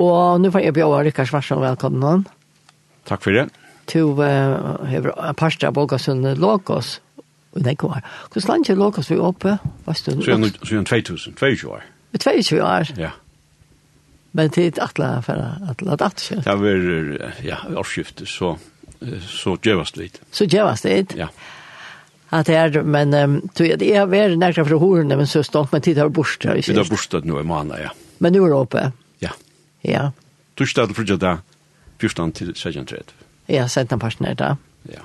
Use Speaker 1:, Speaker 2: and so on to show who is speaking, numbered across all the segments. Speaker 1: Og nu får jeg bjøre Rikard Svarsson velkommen han.
Speaker 2: Takk for det.
Speaker 1: To uh, hever en parster av Bolgasund Låkås. Nei, hva er Hvordan land er Låkås vi oppe? Hva er
Speaker 2: Så er det 2000, 22 år.
Speaker 1: 22 år.
Speaker 2: Ja.
Speaker 1: Men til et atla for atla datter.
Speaker 2: Det var, eh, ja, årsskiftet, så, eh, så gjøres det litt.
Speaker 1: Så gjøres det ikke.
Speaker 2: Ja.
Speaker 1: At det er, men um, jeg har vært nærkere fra horene, men så stått, men tid har bort her.
Speaker 2: Vi har bostad nå i måneden, ja.
Speaker 1: Men nu er det oppe.
Speaker 2: Ja.
Speaker 1: Ja,
Speaker 2: Torsdag til fredag, 14 til 16.30.
Speaker 1: jeg har sendt en parsten her da.
Speaker 2: Ja.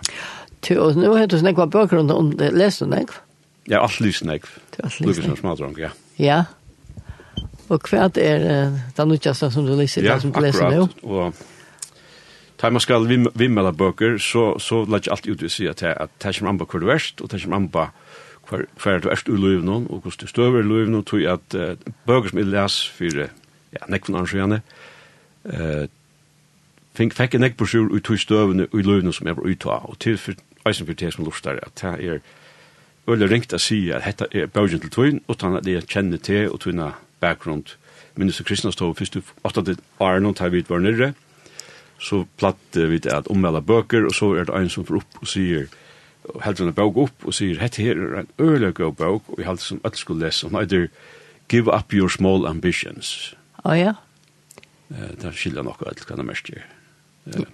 Speaker 1: Til- er Og er nå har du snakket hva bøker om, om det. Leser du snakket?
Speaker 2: Ja, alt lysen jeg.
Speaker 1: Du har alt lysen.
Speaker 2: Lukas som smadrang, ja.
Speaker 1: Ja. Og hva er eh, det nødvendigste som du leser,
Speaker 2: Ja,
Speaker 1: det som du leser nå?
Speaker 2: akkurat. Og tar man skal vim- vimmela bøker, så, så lær jeg alt ut å si at det at det kommer an på hver du erst, og det kommer an på hver, hver du erst ur løyven, og hvordan du støver i løyven, og tog jeg at eh, bøker som jeg les for eh, ja, nekvun arrangerende, eh, fink, fikk jeg nekbrosjur ut i støvene og i løyven som jeg var ute av, og til for eisen for det som lustar, at det er Ulla ringt å si at dette er bøgen til tøyen, og tann at jeg kjenner til og tøyna bakgrunn. Minnes og kristne stod først ofte til Arne og tar vi ut var nere, så platt vi det at ommelda bøker, og så er det en som får opp og sier, og heldur en bøk opp og sier, hette her er en øyla gøy bøk, og jeg heldur som alle skulle lese, og nøyder, give up your small ambitions.
Speaker 1: Å ja.
Speaker 2: Eh, Det skiljer nok alt hva det mest gjør.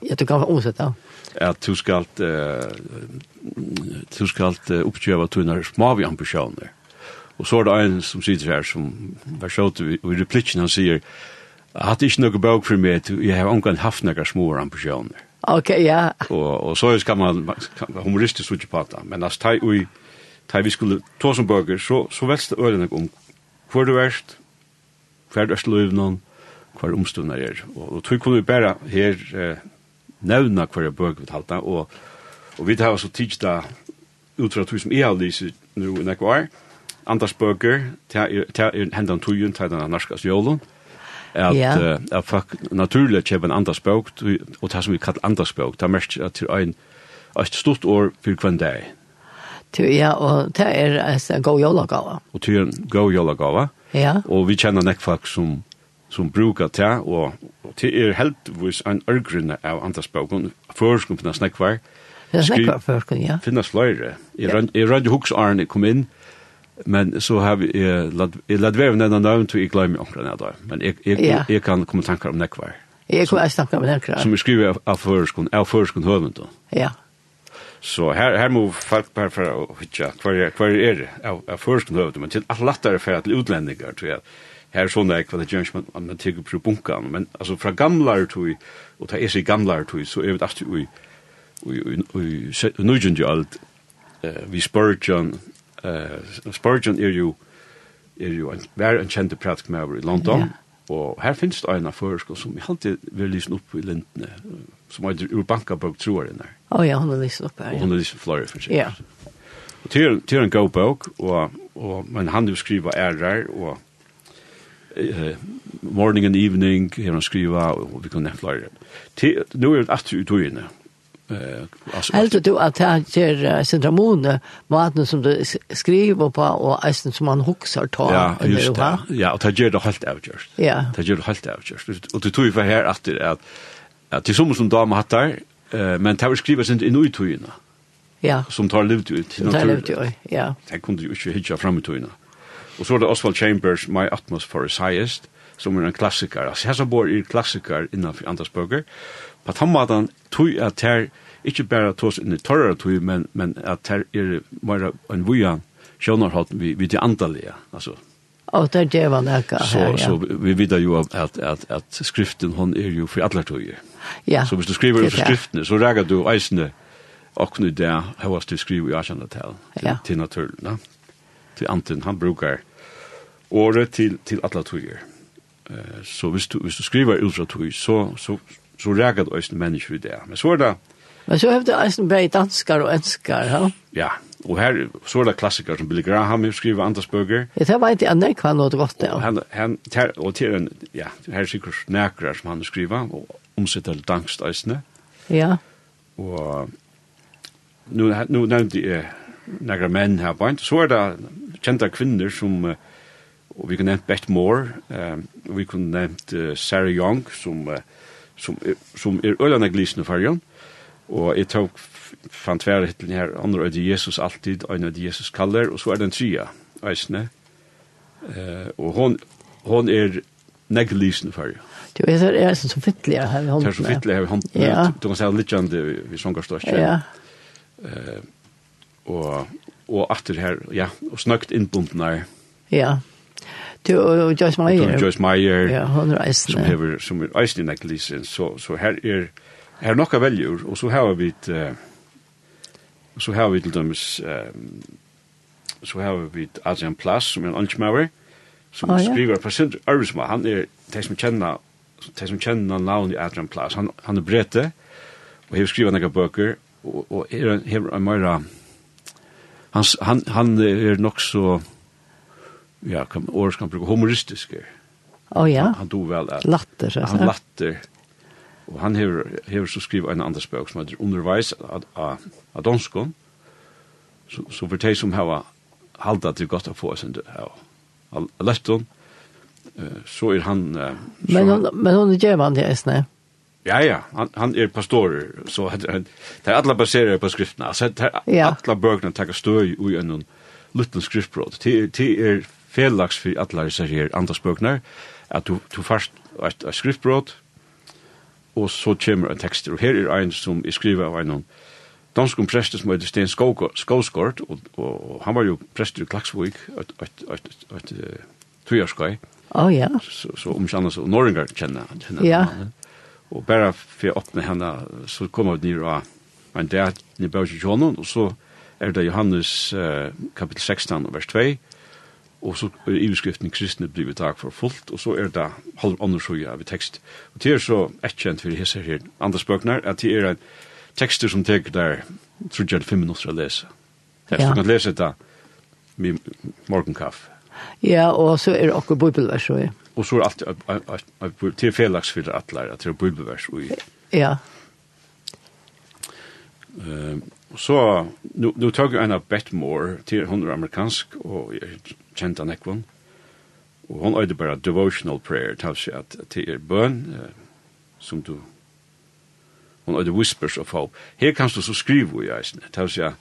Speaker 1: Ja, du kan omsette.
Speaker 2: At du skal, eh, du skal eh, oppgjøve tøyna smave ambisjoner. Og så er det en som sitter her, som var sjått i i replikken, han sier, jeg hadde ikke noe bøk for meg, til- jeg har omgang haft noen små ambisjoner.
Speaker 1: Ok, ja.
Speaker 2: Og, og så skal man, man skal være humoristisk ut på det, men altså, ta, i- ta i vi skulle ta som bøker, så, så velst um det øyne om hvor du erst, hver du erst løyv noen, hver omstående er. Og, og tog kunne vi bare her eh, nevna hver bøker vi talte, og, og vi tar så tids da, ut fra tog som jeg har lyset nå i nekvar, år, Anders bøker, ta er ta er hendan tujen, ta den norskas jolun, at
Speaker 1: Ja.
Speaker 2: yeah. uh, at fuck naturligt kjøp en Anders bøk, tu- og det som vi kallar Anders bøk, det er mest at det er ein, et stort år for hver dag,
Speaker 1: Du, ja, og det er altså, en god jolagave.
Speaker 2: og er til en god jolagava,
Speaker 1: Ja.
Speaker 2: og vi kjenner nek folk som, som brukar det, og, og til er heldigvis en ørgrunne av Anders bøkken, førskum finnes nekvar,
Speaker 1: Det er
Speaker 2: Skri-
Speaker 1: snakker før, kun, ja.
Speaker 2: finnes flere. Jeg rann- jeg rann jo hos Arne kom inn, men så har vi, jeg lad være nevna navn, til jeg glemmer omkring det da. Men jeg, jeg,
Speaker 1: Ja.
Speaker 2: jeg, kan komme tankar om nekvar.
Speaker 1: Jeg kunne også snakke med den krav.
Speaker 2: som er skrivet av, av føreskon, av føreskon høvendon.
Speaker 1: Ja.
Speaker 2: Så her, her må folk bare for å hitja hver, er- hver er det av, av føreskon høvendon, men til alt lettere for at utlendingar, tror jeg, her er sånn jeg kvar det gjørs, man, man tigger på bunkan, men altså fra gamlare tog, og ta er seg gamlare tog, så er vi alltid ui, ui, ui, ui, ui, ui, alt, eh, vi Spurgeon, eh, Spurgeon er jo, er jo en, vær en kjente pratisk med over i London, og her finnes det en av føreskål som jeg alltid vil lyse opp i lintene, som er ur bankabok tror jeg den her,
Speaker 1: Å ja, hun er lyst opp her.
Speaker 2: og
Speaker 1: ja.
Speaker 2: hun er lyse flore for seg.
Speaker 1: Ja.
Speaker 2: Og er til, til en god bok, og, og, men han jo skriver ærer, og eh, morning and evening, her han skriver, og vi kan nevne flore. Til, nå er det alltid ut og inne. Eh, altså,
Speaker 1: Heldur du at det gjør eh, syndramone, maten som du s- skriver på, og eisen som man hokser ta?
Speaker 2: Ja,
Speaker 1: eller
Speaker 2: just
Speaker 1: hva?
Speaker 2: det. Ja, og det gjør det helt avgjørst.
Speaker 1: Ja.
Speaker 2: Det gjør det helt avgjørst. Og det tog vi for her at det er at, at det er som som dame hatt der, eh, men det var skrivet sin inn i togene,
Speaker 1: Ja,
Speaker 2: som tar livet ut til
Speaker 1: det er
Speaker 2: naturen.
Speaker 1: levd jo, ja.
Speaker 2: Det kunne jo ikke hitja fram i togene. Og så er det Oswald Chambers, My Atmosphere is Highest, som er en klassiker. Altså, her så bor er klassiker innanfor andres bøker. På tammadan tog at her, ikke bare tås inn i torrere tog, men, men at her er mer en vujan sjønarhatt vi, vi til andalige. Altså,
Speaker 1: Og det gjør man ikke
Speaker 2: så
Speaker 1: her, ja.
Speaker 2: så vi- vi vet ju att att att, att skriften hon är ju för alla tøyer.
Speaker 1: Ja,
Speaker 2: Så hvis du skriver
Speaker 1: det
Speaker 2: ur
Speaker 1: er det.
Speaker 2: skriften så räcker du eisne och nu där hur du skriver i Ashan Hotel
Speaker 1: Ja.
Speaker 2: till, till naturen, ja. Till Anton han brukar året till till alla tøyer. Eh så hvis du hvis du skriver ur fra tøy så så så räcker du eisne människor i det. Men er så är det
Speaker 1: Men så har du eisen bare danskar og ønskar, ja.
Speaker 2: ja, och här så är det klassiker som Billy Graham har skrivit andra bøker.
Speaker 1: Det var ikke annet hva er noe godt, ja.
Speaker 2: han han ter, og til en ja, her er sikkert snakrar som han skriva og omsetter til dangst eisne
Speaker 1: Ja,
Speaker 2: og nu nu nevnte jeg nekra menn her på en, så er det kjente kvinner som eh, Og vi kunne nevnt Beth Moore, um, og vi kunne nevnt uh, Sarah Young, som, uh, som, er, som er ølende glisende fargen. Og jeg tok fan tvære hittelen her, andre øyde Jesus alltid, øyne øyde Jesus kaller, og så er den tria, eisne. Uh, og hon, hon er neglisende fargen.
Speaker 1: Du vet, det er sånn som fittlig jeg har i
Speaker 2: Det
Speaker 1: hånden.
Speaker 2: er så fittelig her i hånden.
Speaker 1: Ja.
Speaker 2: Du kan si litt grann det vi sångerstås.
Speaker 1: Ja,
Speaker 2: Og, og atter her, ja, og snøkt innbundne her.
Speaker 1: ja. Du og Joyce Meyer.
Speaker 2: Joyce Meyer.
Speaker 1: Ja, hon
Speaker 2: som
Speaker 1: reisende.
Speaker 2: hever som er eisen i neglisen så så her er her nokka veljur og så har vi et eh, så har vi til dømes eh, så har vi et Adrian Plass som er en ansmauer som
Speaker 1: Ah, ja.
Speaker 2: skriver på sin arbeidsma han er de som kjenner de som kjenner navnet Adrian Plass han, han er brete og hever skriver nekka bøker og, og er, en- hever en meira han, han, han er nok så ja, kan, året kan bruke humoristisk er
Speaker 1: Å ja,
Speaker 2: han dog vel at
Speaker 1: latter. så
Speaker 2: han
Speaker 1: sagt.
Speaker 2: latter. Og han hever, hever så skriver en annan spøk som heter Underveis av- av av Donskon. Så, så for de som har halda til godt å få sin av Lepton, eh, så er han... eh, så
Speaker 1: Men
Speaker 2: han,
Speaker 1: hon, men hon er djevande i Esne.
Speaker 2: ja, ja, han, han er pastorer, så det er- det er alle baserer på skriftene. Altså, det er
Speaker 1: Ja.
Speaker 2: alle bøkene takker støy ui en liten skriftbrot. Det det er felags for alle disse her andre bøkene, at du, du først et, et skriftbrot, og så kommer en tekster. Og her er en som er skriver av en danskum prester som heter Sten Skågård- Skåsgård, og, og, og han var jo prester i Klaksvik, et, et, et, et, et, eh, tujårskai
Speaker 1: Å ja,
Speaker 2: så, så om ikke annars, og Norringar kjenner han. kjenner
Speaker 1: Ja.
Speaker 2: han. Og bare for jeg åpner henne, så kommer vi ned av en dag i Bøsjøkjånen, og så er det Johannes eh, kapittel 16, vers 2, og så er iverskriften kristne blivet dag for fullt, og så er det halv undersøye av tekst. Og det er så etkjent for hese her andre spøkner, at det er en tekster som teker der, tror jeg det er fem minutter å lese. Det er,
Speaker 1: Ja.
Speaker 2: så du kan lese det med morgenkaffe.
Speaker 1: ja, og så er det okkur bibelvers. og-
Speaker 2: Og så er alt at- at- at- at- til felags for atler, at det er bibelvers. Og,
Speaker 1: Ja,
Speaker 2: eh, og så, nu, nu tog jeg en av Beth Moore, til hun er amerikansk, og er jeg kjente han ekvån. Og hun øyde bare devotional prayer, til å si at at det er bøn, eh, som du, hun øyde whispers of hope. Her kan du så skrive i eisen, til å si at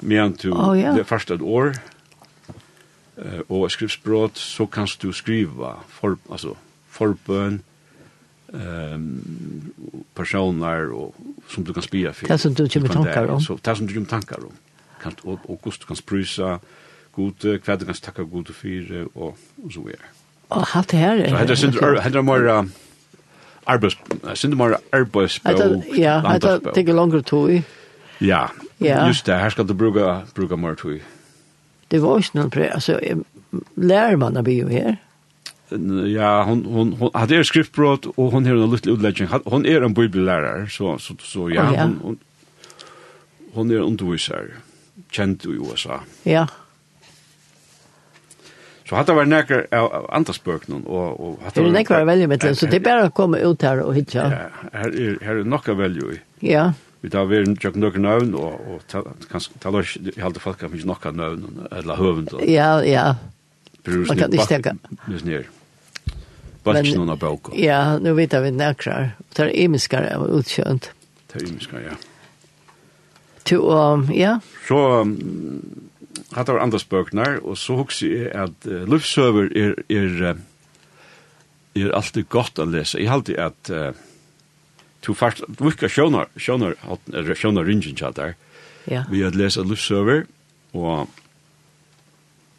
Speaker 2: medan du,
Speaker 1: Å, ja.
Speaker 2: det første et år, eh, og skriftspråk, så kan du skriva for, altså, forbøn, personer og, som du kan spira for.
Speaker 1: Det som du kommer
Speaker 2: Utan det,
Speaker 1: tankar om.
Speaker 2: Så, det som du kommer tankar om. Kan, og, og hvordan du kan sprysa gode, hva du kan takka gode for, og, og så er.
Speaker 1: og hatt det her. er-
Speaker 2: Så heter synder, heter mer arbeids, synder mer arbeidsbog,
Speaker 1: Hetta- Ja, det
Speaker 2: landdagsbog.
Speaker 1: tigger langere tog.
Speaker 2: Ja,
Speaker 1: Ja.
Speaker 2: just det, her skal du bruka, bruka mer tog.
Speaker 1: Det var ikke noen pre... Altså, em, lærer man å bli jo her?
Speaker 2: Ja, hon hon hon hade er skriftbrott och hon har en liten utläggning. Hon är en bibellärare så så så ja,
Speaker 1: Å, ja.
Speaker 2: hon hon hon är undervisare. Känd i USA.
Speaker 1: Ja,
Speaker 2: er Så hade var näker andra spöknen och och hade
Speaker 1: det er nekvar å velge mitt
Speaker 2: Eh,
Speaker 1: så det er bare å komme ut her og
Speaker 2: Ja,
Speaker 1: hitja.
Speaker 2: här är här är nog att välja. i.
Speaker 1: Ja,
Speaker 2: Vi tar vi en jag några namn och och ta- kanske talar jag håller folk kanske några namn eller hövn då.
Speaker 1: ja, ja. Man kan ikke tenke.
Speaker 2: Nu snär. Bulksen
Speaker 1: Men-
Speaker 2: och bok.
Speaker 1: Ja, nu vet vi nekvar. Det er imiskar av utkjønt.
Speaker 2: Det är ju mycket, ja.
Speaker 1: To, um, ja,
Speaker 2: Så um, hatt var andre spøkner, og så husker jeg at uh, luftsøver er, er, eh, er alltid godt å lese. Jeg halte at uh, to fast, vilka sjånar, sjånar, eller sjånar ringen tjater,
Speaker 1: ja.
Speaker 2: vi har lese luftsøver, og,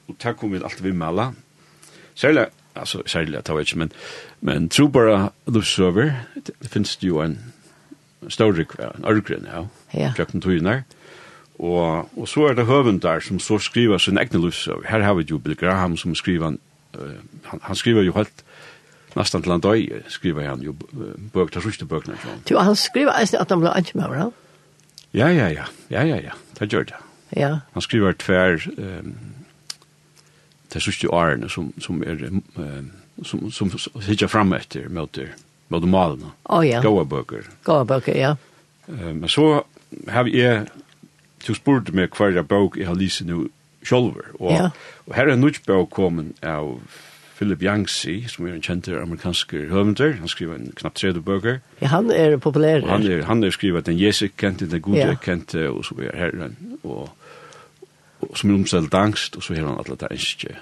Speaker 2: og takk om vi alltid vil male. Særlig, altså særlig, jeg tar ikke, men, men tro bare luftsøver, det, det finnes det jo en stor rikvær, en ørgrunn, ja,
Speaker 1: Ja.
Speaker 2: kjøkken togene, Og, og så er det høvendar som så skriver sin egne livsøver. Her har vi jo Bill Graham som skriver, han, eh, han, han skriver jo helt, nesten til han døy, skriver han jo eh, bøk, det er sørste bøkene. ikke sant?
Speaker 1: To, han skriver eisen at han ble ikke med hverandre.
Speaker 2: Ja, ja, ja, ja, ja, ja, det gjør det.
Speaker 1: Ja,
Speaker 2: Han skriver tver ehm det siste årene som, som er ehm, som, som, som sitter fram etter mot mot malene.
Speaker 1: å ja.
Speaker 2: Gåa bøker.
Speaker 1: Gåa bøker, ja.
Speaker 2: Eh, Men så har jeg du spurte meg hver jeg bøk jeg har lyst nå sjolver. Og,
Speaker 1: Ja.
Speaker 2: og her er en nødt bøk kommet av Philip Yancey, som er en kjent amerikansk høvender, han skriver en knapp tredje bøker.
Speaker 1: Ja, han er populær.
Speaker 2: Og han er, han er skrivet den Jesu kjente, den gode
Speaker 1: Ja.
Speaker 2: kjente, og så er herren, og, og som er omstelt angst, og er så har han alle det ønske.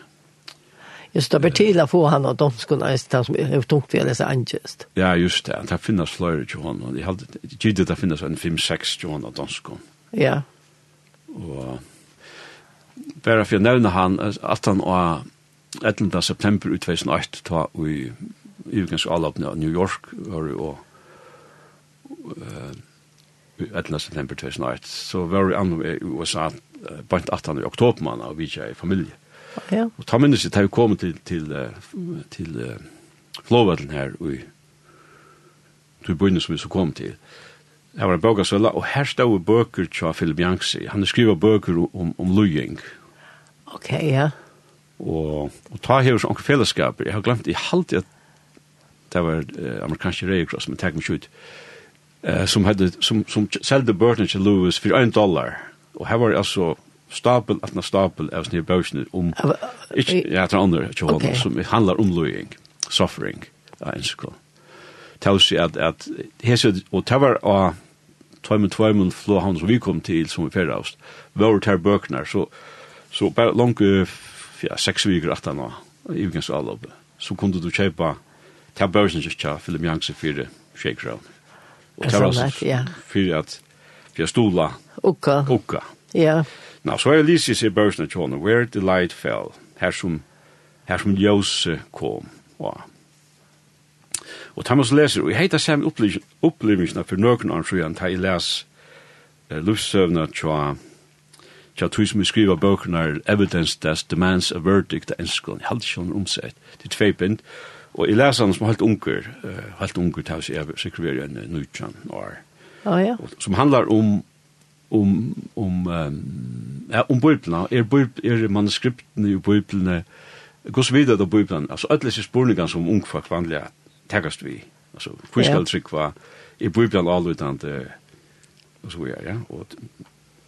Speaker 1: Just det blir til å få han og domskene eis til han som er tungt ved å lese angest.
Speaker 2: Ja, just det, det finnes flere til han, og jeg hadde, jeg tydde det finnes en 5-6 til han av danskene.
Speaker 1: Ja,
Speaker 2: Og bare for å nevne han, at han var 11. september i 2008, ta i Ivgens avlapne av New York, var det og eh, 11. september 2008, så var det annet i USA, eh, bare 18. i oktober, man, og vi ikke er i familie.
Speaker 1: ja,
Speaker 2: Og ta minnes jeg, da vi kom til, til, eh, f- til eh, Flåvallen her, og i- til bøyne som vi så kom til, her var en bøkersølla, og her stod bøker til Philip Yancey. Han skriver bøker om, om løying,
Speaker 1: ok, ja.
Speaker 2: og, og ta her som onker fellesskaper. Jeg har glemt, jeg halte at det var eh, amerikanske reikross, men takk meg ikke ut, eh, som, hadde, som, som selgde bøkene til Lewis for en dollar. Og her var det altså stapel, atna stapel av sånne her bøkene om,
Speaker 1: Av-
Speaker 2: ikke, ja, er til andre, til hånden,
Speaker 1: Ok.
Speaker 2: som handler om løying, um suffering, ja, en sekund. Tausi at, at hese, og det var av tveimen tveimen flåhavn som vi kom til, som vi færre avst, var det her bøkene, så, så bare langt, eh, f- ja, seks viker at han var, i vikens avløp, så kunne du kjøpe til bøkene som kjøpe Philip Yancey for Shakedown. Og det var
Speaker 1: Sånn at, ja.
Speaker 2: altså for at, for at stola,
Speaker 1: Okka,
Speaker 2: hukka,
Speaker 1: ja,
Speaker 2: Nå, så er Lysis i børsene tjåne, where the light fell, her som, her som ljøse kom. Og, og Thomas leser, og jeg heter Sam opplevelsene for nøkken av sjøen, da jeg les uh, luftsøvnene tjå, tjå tog som jeg skriver bøkene, er Evidence that demands a verdict, en skål, jeg hadde ikke noen omsett, til tveipind, er og jeg leser han som helt unger, uh, helt unger, til jeg sekreverer en nøytjan år
Speaker 1: å ja,
Speaker 2: som handlar om om om um, ja, om bibeln er bib er manuskripten i bibeln går så vidare då bibeln alltså alla dessa spurningar som ung folk vanliga tagast vi alltså hur
Speaker 1: Ja.
Speaker 2: ska trick var i bibeln allutande och så vidare ja och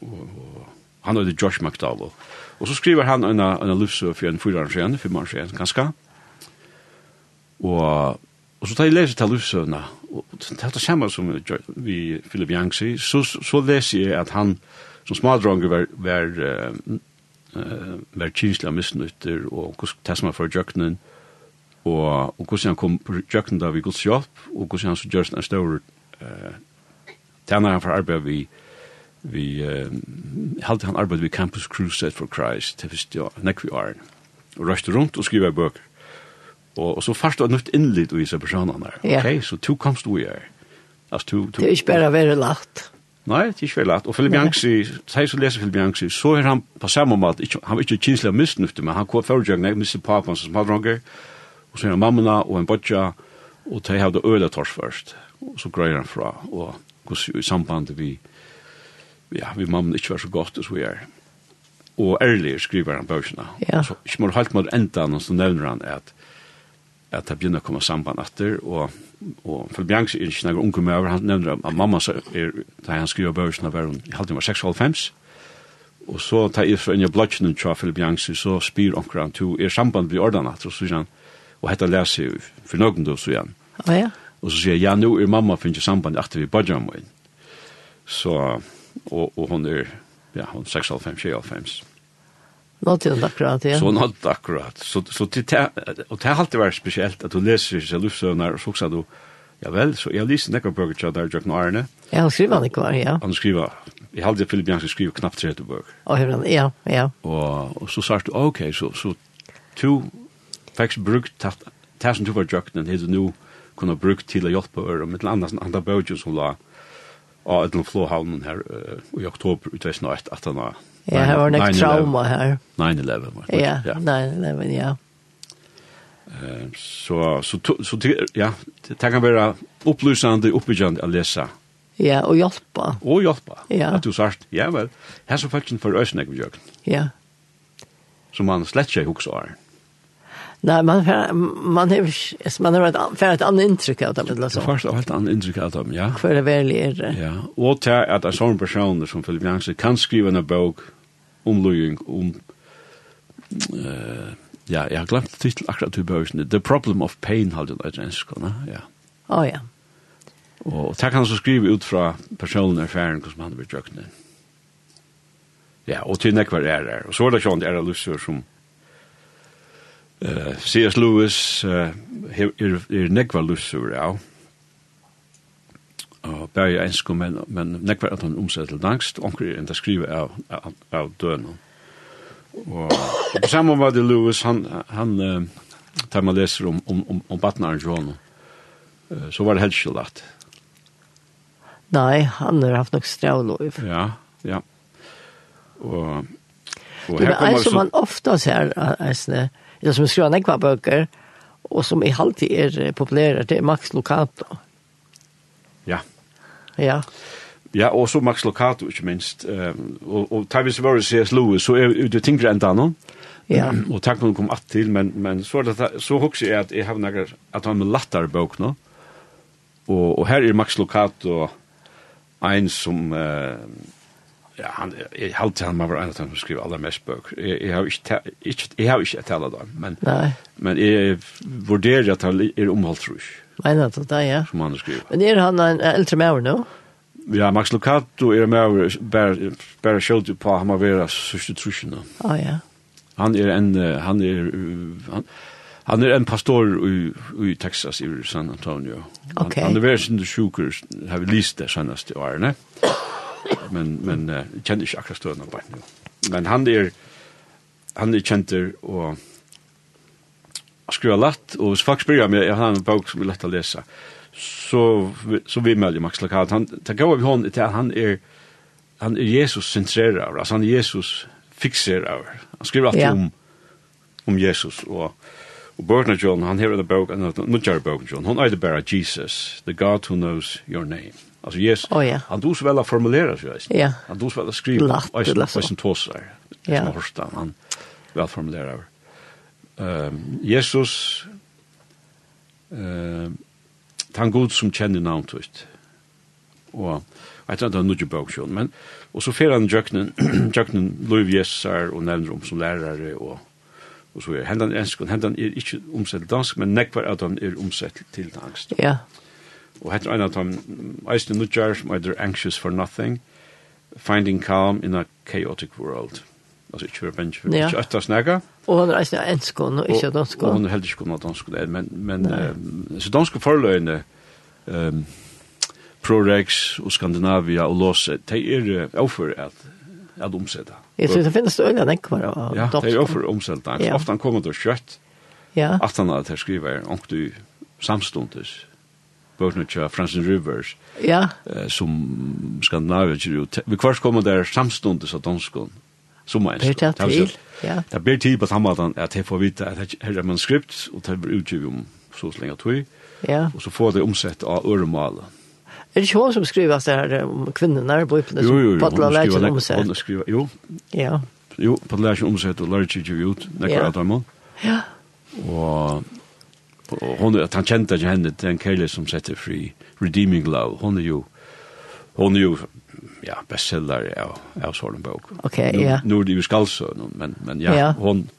Speaker 2: och, och han heter er Josh McDowell och så skriver han en en livsö för en fyra år sedan för man sedan ganska og og så tar jeg leser til Lufsøvna, og det er det samme som vi Philip Yancey, så, så leser jeg at han som smadronger var, var, eh, uh, var kinslig av misnytter, og hvordan det som var for jøkkenen, er og, og hvordan han kom på jøkkenen da vi gods hjelp, og hvordan han så gjørs en større uh, tjener han for arbeid vi vi uh, halte han arbeid vi Campus Crusade for Christ, det visste jeg, nekk vi åren, og røste rundt og skriver bøker. Og, og så først var nødt innlitt i disse personene her.
Speaker 1: Ja.
Speaker 2: Ok, så to komst du her. Altså, to, to,
Speaker 1: det er ikke bare å være lagt.
Speaker 2: Nei, det er ikke veldig. Og Philip
Speaker 1: Nei.
Speaker 2: Yancey, de som leser Philip Yancey, så er han på samme måte, ikke, han var ikke kinslig av misnufte, men han kom forutjøkken, jeg mistet papen som smadronger, og så er han mammena og en bodja, og de hadde øde tors først, og så grøyer han fra, og hvordan i sambandet vi, ja, vi mammena ikke var så godt, og så er og ærlig skriver han bøkene.
Speaker 1: Ja.
Speaker 2: Så ikke må du helt med enda han, så nevner han at at det begynner å komme samband etter, og, og for Bjanks er ikke noen unge med over, han nevner at mamma, så er, da han skriver børsene, var hun, jeg halte hun var 6,5, og så tar jeg så inn i blodgen til Philip Bjanks, så spyr omkring han, to, er samband blir ordnet etter, og så sier han, og hette leser jeg for noen da, så sier han,
Speaker 1: Å ja,
Speaker 2: og så sier jeg, ja, nå er mamma finner samband etter vi badger min. Så, og, og hun er, ja, hun er 6,5, 6,5.
Speaker 1: nå til hun akkurat, ja.
Speaker 2: Så nått akkurat. Så, så til, te- og det har alltid vært spesielt at du leser disse luftsøvner, og så sa du, ja vel, så jeg lyser nekker bøker til der Jøkken Arne.
Speaker 1: Ja, han skriver han ikke var, ja.
Speaker 2: Han skriver, jeg halde Philip Jansen skriver knappt 30 bøker.
Speaker 1: Og hør han, ja, ja,
Speaker 2: Og, og så sa du, ok, så, så to fikk brukt tatt- det som du var Jøkken, det du nå kunne brukt til å hjelpe øre, med til andre, andre bøker som la av et eller flåhavnen her eh, i oktober i 2008, at han var
Speaker 1: ja, her var det ikke
Speaker 2: 9/11.
Speaker 1: trauma her.
Speaker 2: 9-11. var det.
Speaker 1: Ja, nei, nei, men ja.
Speaker 2: Eh, så så to- så ty- ja, det det kan vara upplysande uppbyggande att läsa
Speaker 1: Ja, og hjelpa,
Speaker 2: och hjälpa.
Speaker 1: Ja.
Speaker 2: Att du sagt, ja väl, här så faktiskt för ösnek vi gör.
Speaker 1: ja.
Speaker 2: Som man slett sig också är.
Speaker 1: Nei, man, fer- man har man har et, fer et annet inntrykk av det, men
Speaker 2: Så
Speaker 1: altså,
Speaker 2: först av allt annat intryck av dem, ja.
Speaker 1: hva er det veldig er.
Speaker 2: Ja, och till att en sån person som Philip Jansen kan skriva en bok om lögning, om um eh Ja, jeg har glemt titel akkurat til bøysen. The Problem of Pain, halde det engelsk, ja.
Speaker 1: Å ja.
Speaker 2: Og det kan han så skrive ut fra personen og erfaren hvordan han blir drøkne. Ja, og til nekvar er det. Og så er det sånn det er lusser som eh C.S. Lewis eh, er, er, er nekvar lusser, ja. Og bare jeg ensker, men, men nekvar at han omsetter til angst, og omkring er enda skrive av, av, av døden. Og, og på samme var det Lewis, han, han eh, tar man leser om, om, om, om Batnaren John, eh, så var det helt skjellagt.
Speaker 1: Nei, han har haft nok stravløyv.
Speaker 2: Ja, ja. Og, og
Speaker 1: Det
Speaker 2: her
Speaker 1: er
Speaker 2: kommer
Speaker 1: en som
Speaker 2: så,
Speaker 1: man ofte ser, eisne, eller som skriver nekva bøker, og som i halvtid er eh, populære, det er Max Locato.
Speaker 2: ja,
Speaker 1: Ja,
Speaker 2: ja, og så Max Locato, ikke minst. Eh, og, og tar vi så var det C.S. Lewis, så er det tingre enda han,
Speaker 1: ja,
Speaker 2: og takk når hun kom att til, men, men så, er det, så husker jeg at jeg har noen, at han med latter bøk nå, og, og her er Max Locato en som, eh, ja, er- han, jeg halte han, man var en av dem som skriver aller mest bøk. Jeg, jeg har ikke, ta- ikke, jeg har ikke tala da, men,
Speaker 1: nei,
Speaker 2: men jeg vurderer at han er omholdt trus,
Speaker 1: mener du det, ja.
Speaker 2: som han har skrivet.
Speaker 1: Men er han en eldre maur nå?
Speaker 2: Ja, Max Lucato er med over bare, bare skjølt på han må være sørste trusjen.
Speaker 1: Å ja,
Speaker 2: Han er en, eh, han er, uh, han, han er en pastor i, i Texas, i San Antonio. Han,
Speaker 1: Ok.
Speaker 2: han er veldig sin sjuker, har vi lyst det seneste årene. Men, men eh, jeg kjenner ikke akkurat støvende bare nå. Men han er, han er kjenter og skriver latt, og hvis folk spyrir meg, jeg har en bok som er lett å lese, så, vi- så vi melder Max Lacat, han, det går vi hånd til at han er, han er Jesus sentrerer, altså han er Jesus fixerer. Han skriver alltid
Speaker 1: Ja.
Speaker 2: om, om Jesus, og, og Bernard John, han hever en bok, en nødgjør bok, John, han er bare Jesus, the God who knows your name. Altså Jesus,
Speaker 1: Å, ja.
Speaker 2: han dos vel å formulere seg, eisen.
Speaker 1: Ja.
Speaker 2: han dos vel å skrive,
Speaker 1: Latt,
Speaker 2: eisen-
Speaker 1: latt så.
Speaker 2: eisen tåsar,
Speaker 1: Ja.
Speaker 2: som Horstan, han vel formulerar. Ehm Jesus ehm han god som kjenner navn tust. Og jeg tror det er noe bok sjøen, men og så fer han jøknen, jøknen Louis Jesar og nevner om som lærare og og så er hendan enskon, hendan er ikke omsett til dansk, men nekvar at han er omsett til dansk.
Speaker 1: ja,
Speaker 2: Og hetta er ein av dem eisini nudjar som er anxious for nothing, finding calm in a chaotic world. Altså ikkje vera bench,
Speaker 1: Ja.
Speaker 2: ikkje øtta snakka.
Speaker 1: og han er eisne enskån og ikke
Speaker 2: Og
Speaker 1: danskån.
Speaker 2: hun er heldig ikke kunnet dansk, nei, men, men eh, så danske forløyene, um, Prorex og Skandinavia og Låse, de er overfor at, at omsette.
Speaker 1: Jeg tror det finnes øyne nekvar av
Speaker 2: Ja, de er
Speaker 1: danskån.
Speaker 2: overfor omsette.
Speaker 1: Ja.
Speaker 2: Ofte han kommer til kjøtt,
Speaker 1: Ja,
Speaker 2: at han at er jeg skriver, og du samstundes, bøkene til Francis Rivers,
Speaker 1: ja,
Speaker 2: eh, som Skandinavia kjører ut. Vi kvart kommer der samstundes av danskån, som er en
Speaker 1: det er til. Ja,
Speaker 2: Det ber tid på samme måten at jeg får vite at her- her er manuskript, og det blir utgivet om så lenge tog,
Speaker 1: ja.
Speaker 2: og så får det omsett av øremålet.
Speaker 1: Er det ikke hun som skriver at det her eh, om kvinnerna i bøyplene
Speaker 2: Jo,
Speaker 1: som
Speaker 2: jo, jo,
Speaker 1: Patla
Speaker 2: hun skriver,
Speaker 1: Lækjen
Speaker 2: nek-
Speaker 1: omsett?
Speaker 2: hun skriver, jo,
Speaker 1: Ja,
Speaker 2: jo, på lærkjen omsett og lærkjen giver ut, nekker
Speaker 1: Ja.
Speaker 2: at han og og hon at han kjente ikke henne til en kjærlighet som setter fri Redeeming Love. Hon er jo hon er jo ja, bestseller av, av sånn bok.
Speaker 1: ok,
Speaker 2: Nu-
Speaker 1: ja,
Speaker 2: Nu er det jo skaldsøn, men, men ja,
Speaker 1: Ja.
Speaker 2: hon...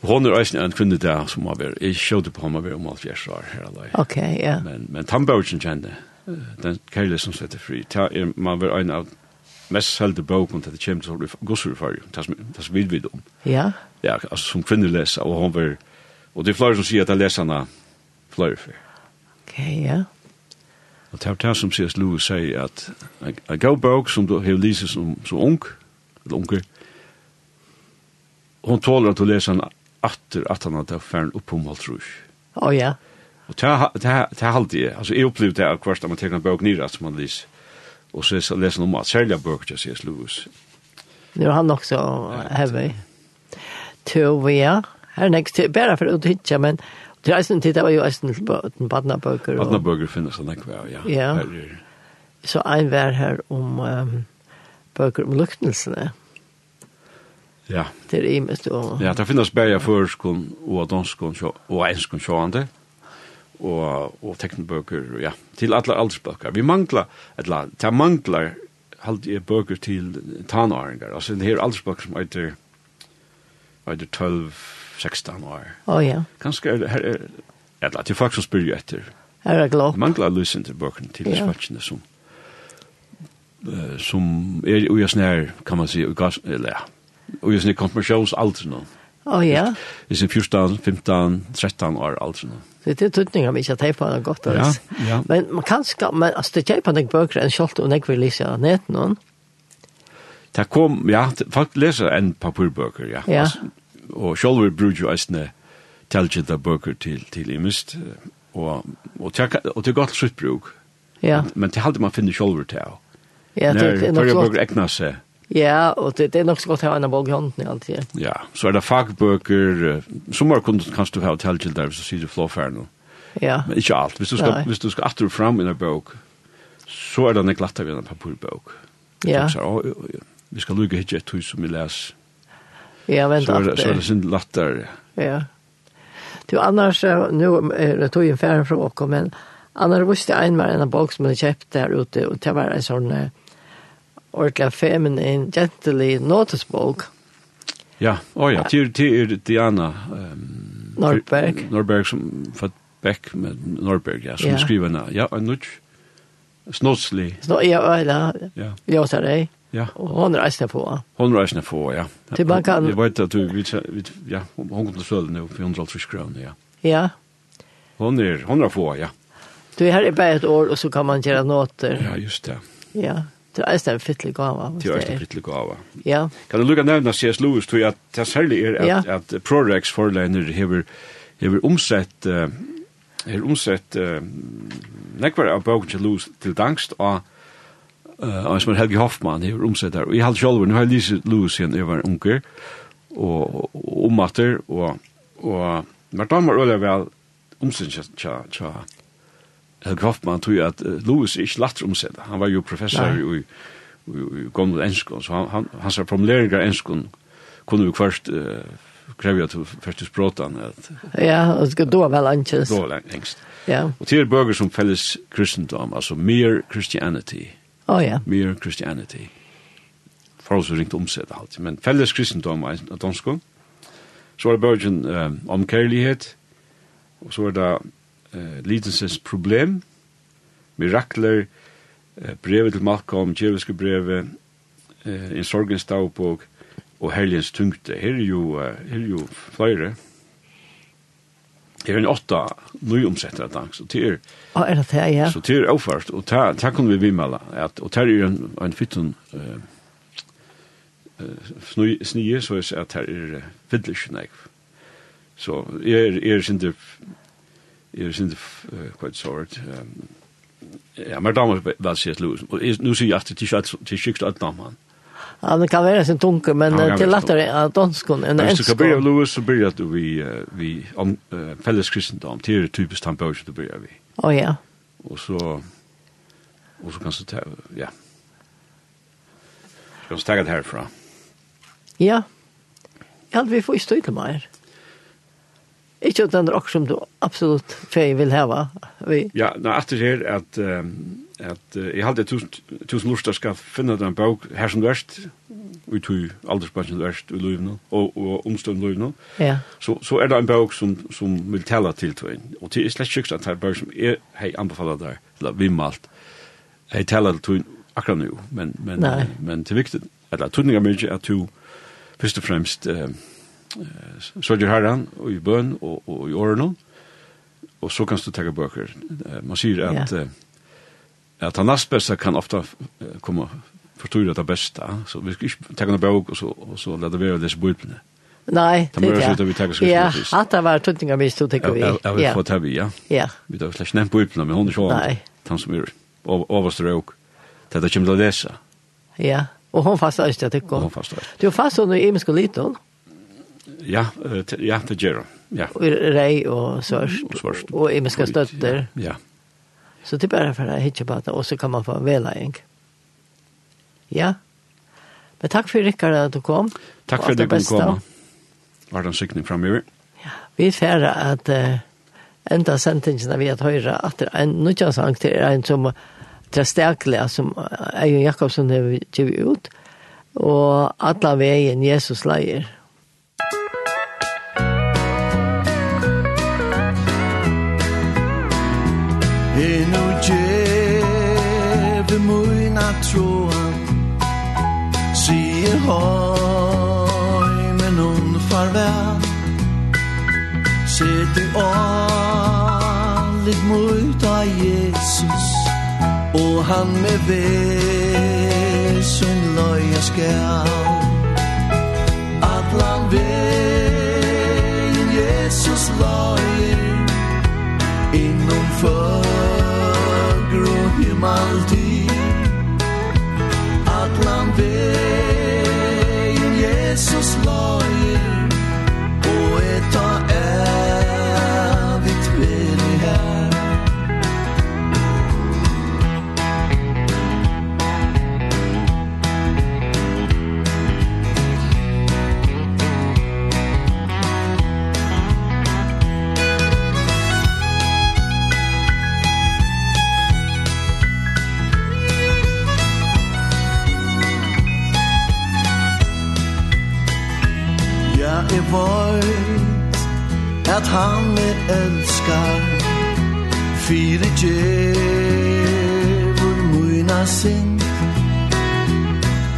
Speaker 2: Hon er eisen en kvinne der som har vært, jeg skjøter på ham har vært om alt fjerst år her alai.
Speaker 1: ok, ja.
Speaker 2: Men, men tannbøkken kjenne, eh, den kærlighet som setter fri, ta er man var en av mest selte bøkken til det kommer til å gå sur for, det som det som vi vet om.
Speaker 1: Ja,
Speaker 2: um. Ja, altså som kvinne leser, og hon var, og det er flere som sier at jeg leser henne flere for.
Speaker 1: ok, ja.
Speaker 2: Og det er det som C.S. Lewis sier at en- en god bok som du har lyset som, som ung, eller unge, hon tåler at du leser den atter at han har færen opp om alt rus.
Speaker 1: Å ja,
Speaker 2: Og det er- det er det er alltid jeg. Altså, jeg opplevde det av hvert at man tenker en bok nyrat som man lyser. Og så leser- leser han om at særlig bøk til C.S. Lewis.
Speaker 1: nu er han også heavy. To, ja. Her nekst, bare for å hitja, men til eisen tid, det var jo eisen til bøten, badnabøker.
Speaker 2: Vatna bøker finnes han ikke, ja.
Speaker 1: Ja.
Speaker 2: Her er-
Speaker 1: Så ein var her om um, bøker om luktelsene.
Speaker 2: Ja,
Speaker 1: Det er imest, og
Speaker 2: ja, det finnes bæja førskon og danskon sjå- og enskon sjående. og og teknbøker og ja, til alla aldersbøker. Vi manglar eller ta manglar er halt i bøker til tanåringar. Altså det her aldersbøker som heter eller 12-16 år.
Speaker 1: Å ja,
Speaker 2: Kanskje er det her, er- eller til folk som spyr jo etter.
Speaker 1: her er
Speaker 2: Det
Speaker 1: glopp.
Speaker 2: mangler løsning til bøkene til
Speaker 1: Ja.
Speaker 2: spørsmålene som, eh, som er jo sånn her, kan man si, og gass- eller ja, og jo sånn her konfirmasjonsalderen nå.
Speaker 1: Å ja,
Speaker 2: I sin 14, 15, 13 år alderen nå.
Speaker 1: så det er tøtninger vi ikke tar på noe godt.
Speaker 2: Ja,
Speaker 1: altså.
Speaker 2: ja.
Speaker 1: Men man kan ska, men altså, det er på noen bøker enn kjolt og jeg vil lese av nett noen.
Speaker 2: Det kom, ja, t- folk leser enn papirbøker, ja.
Speaker 1: Ja.
Speaker 2: Altså, Og sjálfur bruger jo eisne telgjenta bøker til, til imist, og, og, til, og er til godt slutt bruk.
Speaker 1: Ja,
Speaker 2: Men til halde man finner sjálfur til av.
Speaker 1: ja, det, det er
Speaker 2: Når
Speaker 1: nok
Speaker 2: førja
Speaker 1: så
Speaker 2: bøker
Speaker 1: godt.
Speaker 2: egnar seg,
Speaker 1: Ja, og det, det er nok så godt å ha en bok i hånden i alt det.
Speaker 2: ja, så er det fagbøker, eh, sommar kunde kanst du ha telgjenta hvis du sier du flåfærd nå.
Speaker 1: Ja,
Speaker 2: Men ikke alt. Hvis du skal,
Speaker 1: Nei.
Speaker 2: hvis du skal atter fram i en bøk, så er det nek glatt av en papirbøk.
Speaker 1: ja,
Speaker 2: Så, å, å, å, vi skal lukka hitje et hus som vi les.
Speaker 1: ja, vent
Speaker 2: Så er
Speaker 1: alt
Speaker 2: det, så er
Speaker 1: det.
Speaker 2: det sin latter, ja.
Speaker 1: Ja. Du, annars, eh, nu er det tog en færre fra åker, men annars visste jeg en var en av bok som jeg kjøpte her ute, og det var en sånn eh, ordentlig feminin, gently notesbok,
Speaker 2: Ja, oh ja, til til er Diana ehm
Speaker 1: Norberg.
Speaker 2: Norberg som fått Beck med Norberg, ja, som
Speaker 1: Ja.
Speaker 2: skriver henne. Ja, en nudge. Snotsli.
Speaker 1: Så jeg var da,
Speaker 2: Ja,
Speaker 1: jeg sa det,
Speaker 2: ja.
Speaker 1: og hun reiste på.
Speaker 2: Hon reisne få, ja.
Speaker 1: Til man kan-
Speaker 2: Jeg vet at du, vi, vi, ja, hon hon kunne sølge nå for 150 kroner, ja.
Speaker 1: Ja,
Speaker 2: Hon er, hon er få, ja.
Speaker 1: du, her er bare et år, og så kan man gjøre noter.
Speaker 2: Ja, just det.
Speaker 1: Ja, det er en fittlig gava. hvis
Speaker 2: Til
Speaker 1: det
Speaker 2: Øystein
Speaker 1: er.
Speaker 2: Prittelig Gava.
Speaker 1: Ja,
Speaker 2: Kan du lukka nevna C.S. Lewis, tror jeg at det særlig er at,
Speaker 1: Ja.
Speaker 2: at Prorex forlegner hever, hever omsett, uh, hever omsett uh, nekvar av boken til Lewis til dangst og uh, og som er Helge Hoffmann hever omsett der. Og jeg halte sjálfur, nu har jeg lyset Lewis igjen, jeg var unger, og, og ommatter, og, og men da var øyla vel omsett tja, tja, tja Helge Hoffmann tror jeg at uh, Lewis er ikke latt omsett. Han var jo professor
Speaker 1: Nei.
Speaker 2: i, i, i gamle enskon, så han, han, hans formuleringar enskon kunne vi først uh, kreve at du først til språtan at
Speaker 1: ja, og så da vel anses.
Speaker 2: då var engst.
Speaker 1: Ja,
Speaker 2: Og til bøger som felles kristendom, altså mere Christianity,
Speaker 1: å ja,
Speaker 2: mere Christianity. Forholdsvis ringt omsett alltid, men felles kristendom er en dansk. Så er det bøgen um, om kærlighet, og så er det uh, lidelsens problem, mirakler, uh, brevet til Malcolm, djevelske brevet, uh, en sorgens dagbok, og helgens tyngde. Her er jo, uh, her er jo flere. Her er en åtta nyomsettet dans, og til er
Speaker 1: å er det det, ja.
Speaker 2: Så det er avførst, og det det kunne vi vimmela, at, og det er en, en fytten uh, uh, snye, så jeg sier at det er uh, fiddlish nek. Så jeg er, jeg er sinde, jeg er sinde, uh, hva er det så vart, um, ja, men damer vel sier et lus, og jeg- nå sier jeg at det er ikke alt- det er ikke alt damer.
Speaker 1: Ja, det kan være sin tunke, men
Speaker 2: Ja, det kan
Speaker 1: eh, til
Speaker 2: være
Speaker 1: latter er danskon enn
Speaker 2: Men hvis du kan byrja
Speaker 1: enskon.
Speaker 2: lus, så byrja du vi, eh, vi om, eh, felles kristendom, det er typisk tannbøy som du byrja vi.
Speaker 1: Å ja,
Speaker 2: Og så og så kanskje ta ja. Kan så ta det herfra.
Speaker 1: ja. Ja, vi får stå til mer. Ikke at den rock som du absolutt fei vil heva. Vi,
Speaker 2: Ja, nå etter her at ehm, at eh, jeg hadde tusen, tusen lust til å skal finne den bok her som verst, vi tog aldersbøkken verst i løyvene, og, og omstående løyvene,
Speaker 1: ja,
Speaker 2: så, så er det en bok som, som vil tale til tøyen. Og det er slett sikkert at det er en bok som jeg hei anbefaler der, eller vimmalt, hei tale til tøyen akkurat nå, men, men,
Speaker 1: Nei.
Speaker 2: men det er viktig, eller tøyninger mye er at du først og fremst eh, eh, sørger herren og i bøn og, og i årene, og så kan du ta bøker. Eh, Man sier at,
Speaker 1: Ja.
Speaker 2: eh, at han nest beste kan ofte eh, komme forstår det beste, så vi skal ikke ta en bøk og så, og så lade være å lese bøyblene.
Speaker 1: nei,
Speaker 2: Ta mer ut av vi tar oss
Speaker 1: Ja,
Speaker 2: først.
Speaker 1: at det var tøtninga vi stod til
Speaker 2: Jeg
Speaker 1: vi.
Speaker 2: jeg- jeg vil
Speaker 1: Ja,
Speaker 2: få ta vi, ja.
Speaker 1: ja,
Speaker 2: Vi tar slett nevnt bøyblene, men hun er sånn.
Speaker 1: Nei.
Speaker 2: Han som er ov- overstår også. Det er det kommer til å lese.
Speaker 1: ja. Og hon fasta øst, jeg
Speaker 2: Og
Speaker 1: tykker.
Speaker 2: hun fast der.
Speaker 1: Du fasta hun i imensk og liten,
Speaker 2: Ja, eh, te- ja, det gjør hun. Ja,
Speaker 1: og er rei og sørst,
Speaker 2: Og Mm, svørst.
Speaker 1: og imensk og støtter.
Speaker 2: ja.
Speaker 1: Så det er bare for å hitje på det, og så kan man få vela en. Ja. Men takk for Rikard at du kom.
Speaker 2: Takk
Speaker 1: Og
Speaker 2: for
Speaker 1: alt
Speaker 2: at du
Speaker 1: det
Speaker 2: kunne
Speaker 1: beste.
Speaker 2: komme. Var det en sykning fremover?
Speaker 1: Vi færre at eh, enda sentingen vi at høyre at det er en nødjansang til er en som det er sterkelig, som Eion Jakobsen har givet ut, og alle veien Jesus leier.
Speaker 3: Er nu djeve møgna troa Sier høy, men hun farvel Sett i allit mot av Jesus Og han med vesen løya skal Atlan vegin Jesus løyer Innom fögr og himaldi Atlan vegin Jesus løyer Og eta evigt veri her Ja, jeg vet at han me elskar Fire djevor muna sind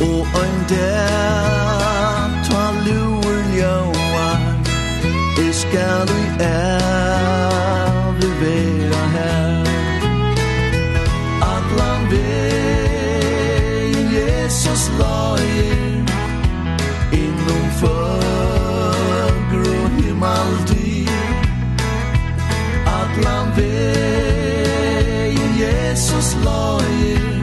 Speaker 3: Og ein der ta luer ljóar Jeg skal i ævlig vera her Atlan vegin Jesus loyer Innom fögr og himaldi Atlan vegin Jesus loyer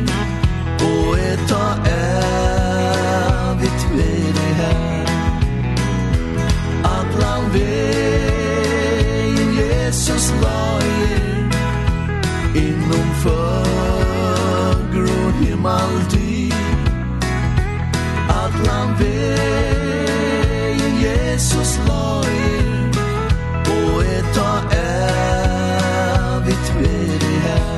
Speaker 3: Og eta evigt veri her Atlan vegin Jesus loyer Innom fögr og himaldi Atlan vegin Jesus loyer Og eta evigt veri her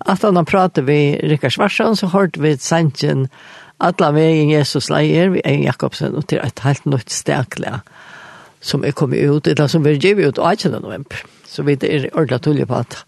Speaker 1: Att han pratar vi Rickard Svarsson så hört vi Sanchen alla vägen Jesus leier vi en Jakobsen och till ett helt nytt stärkla er er som är kommit ut eller som vi ger ut 18 november. Så vi det är ordentligt tulje på att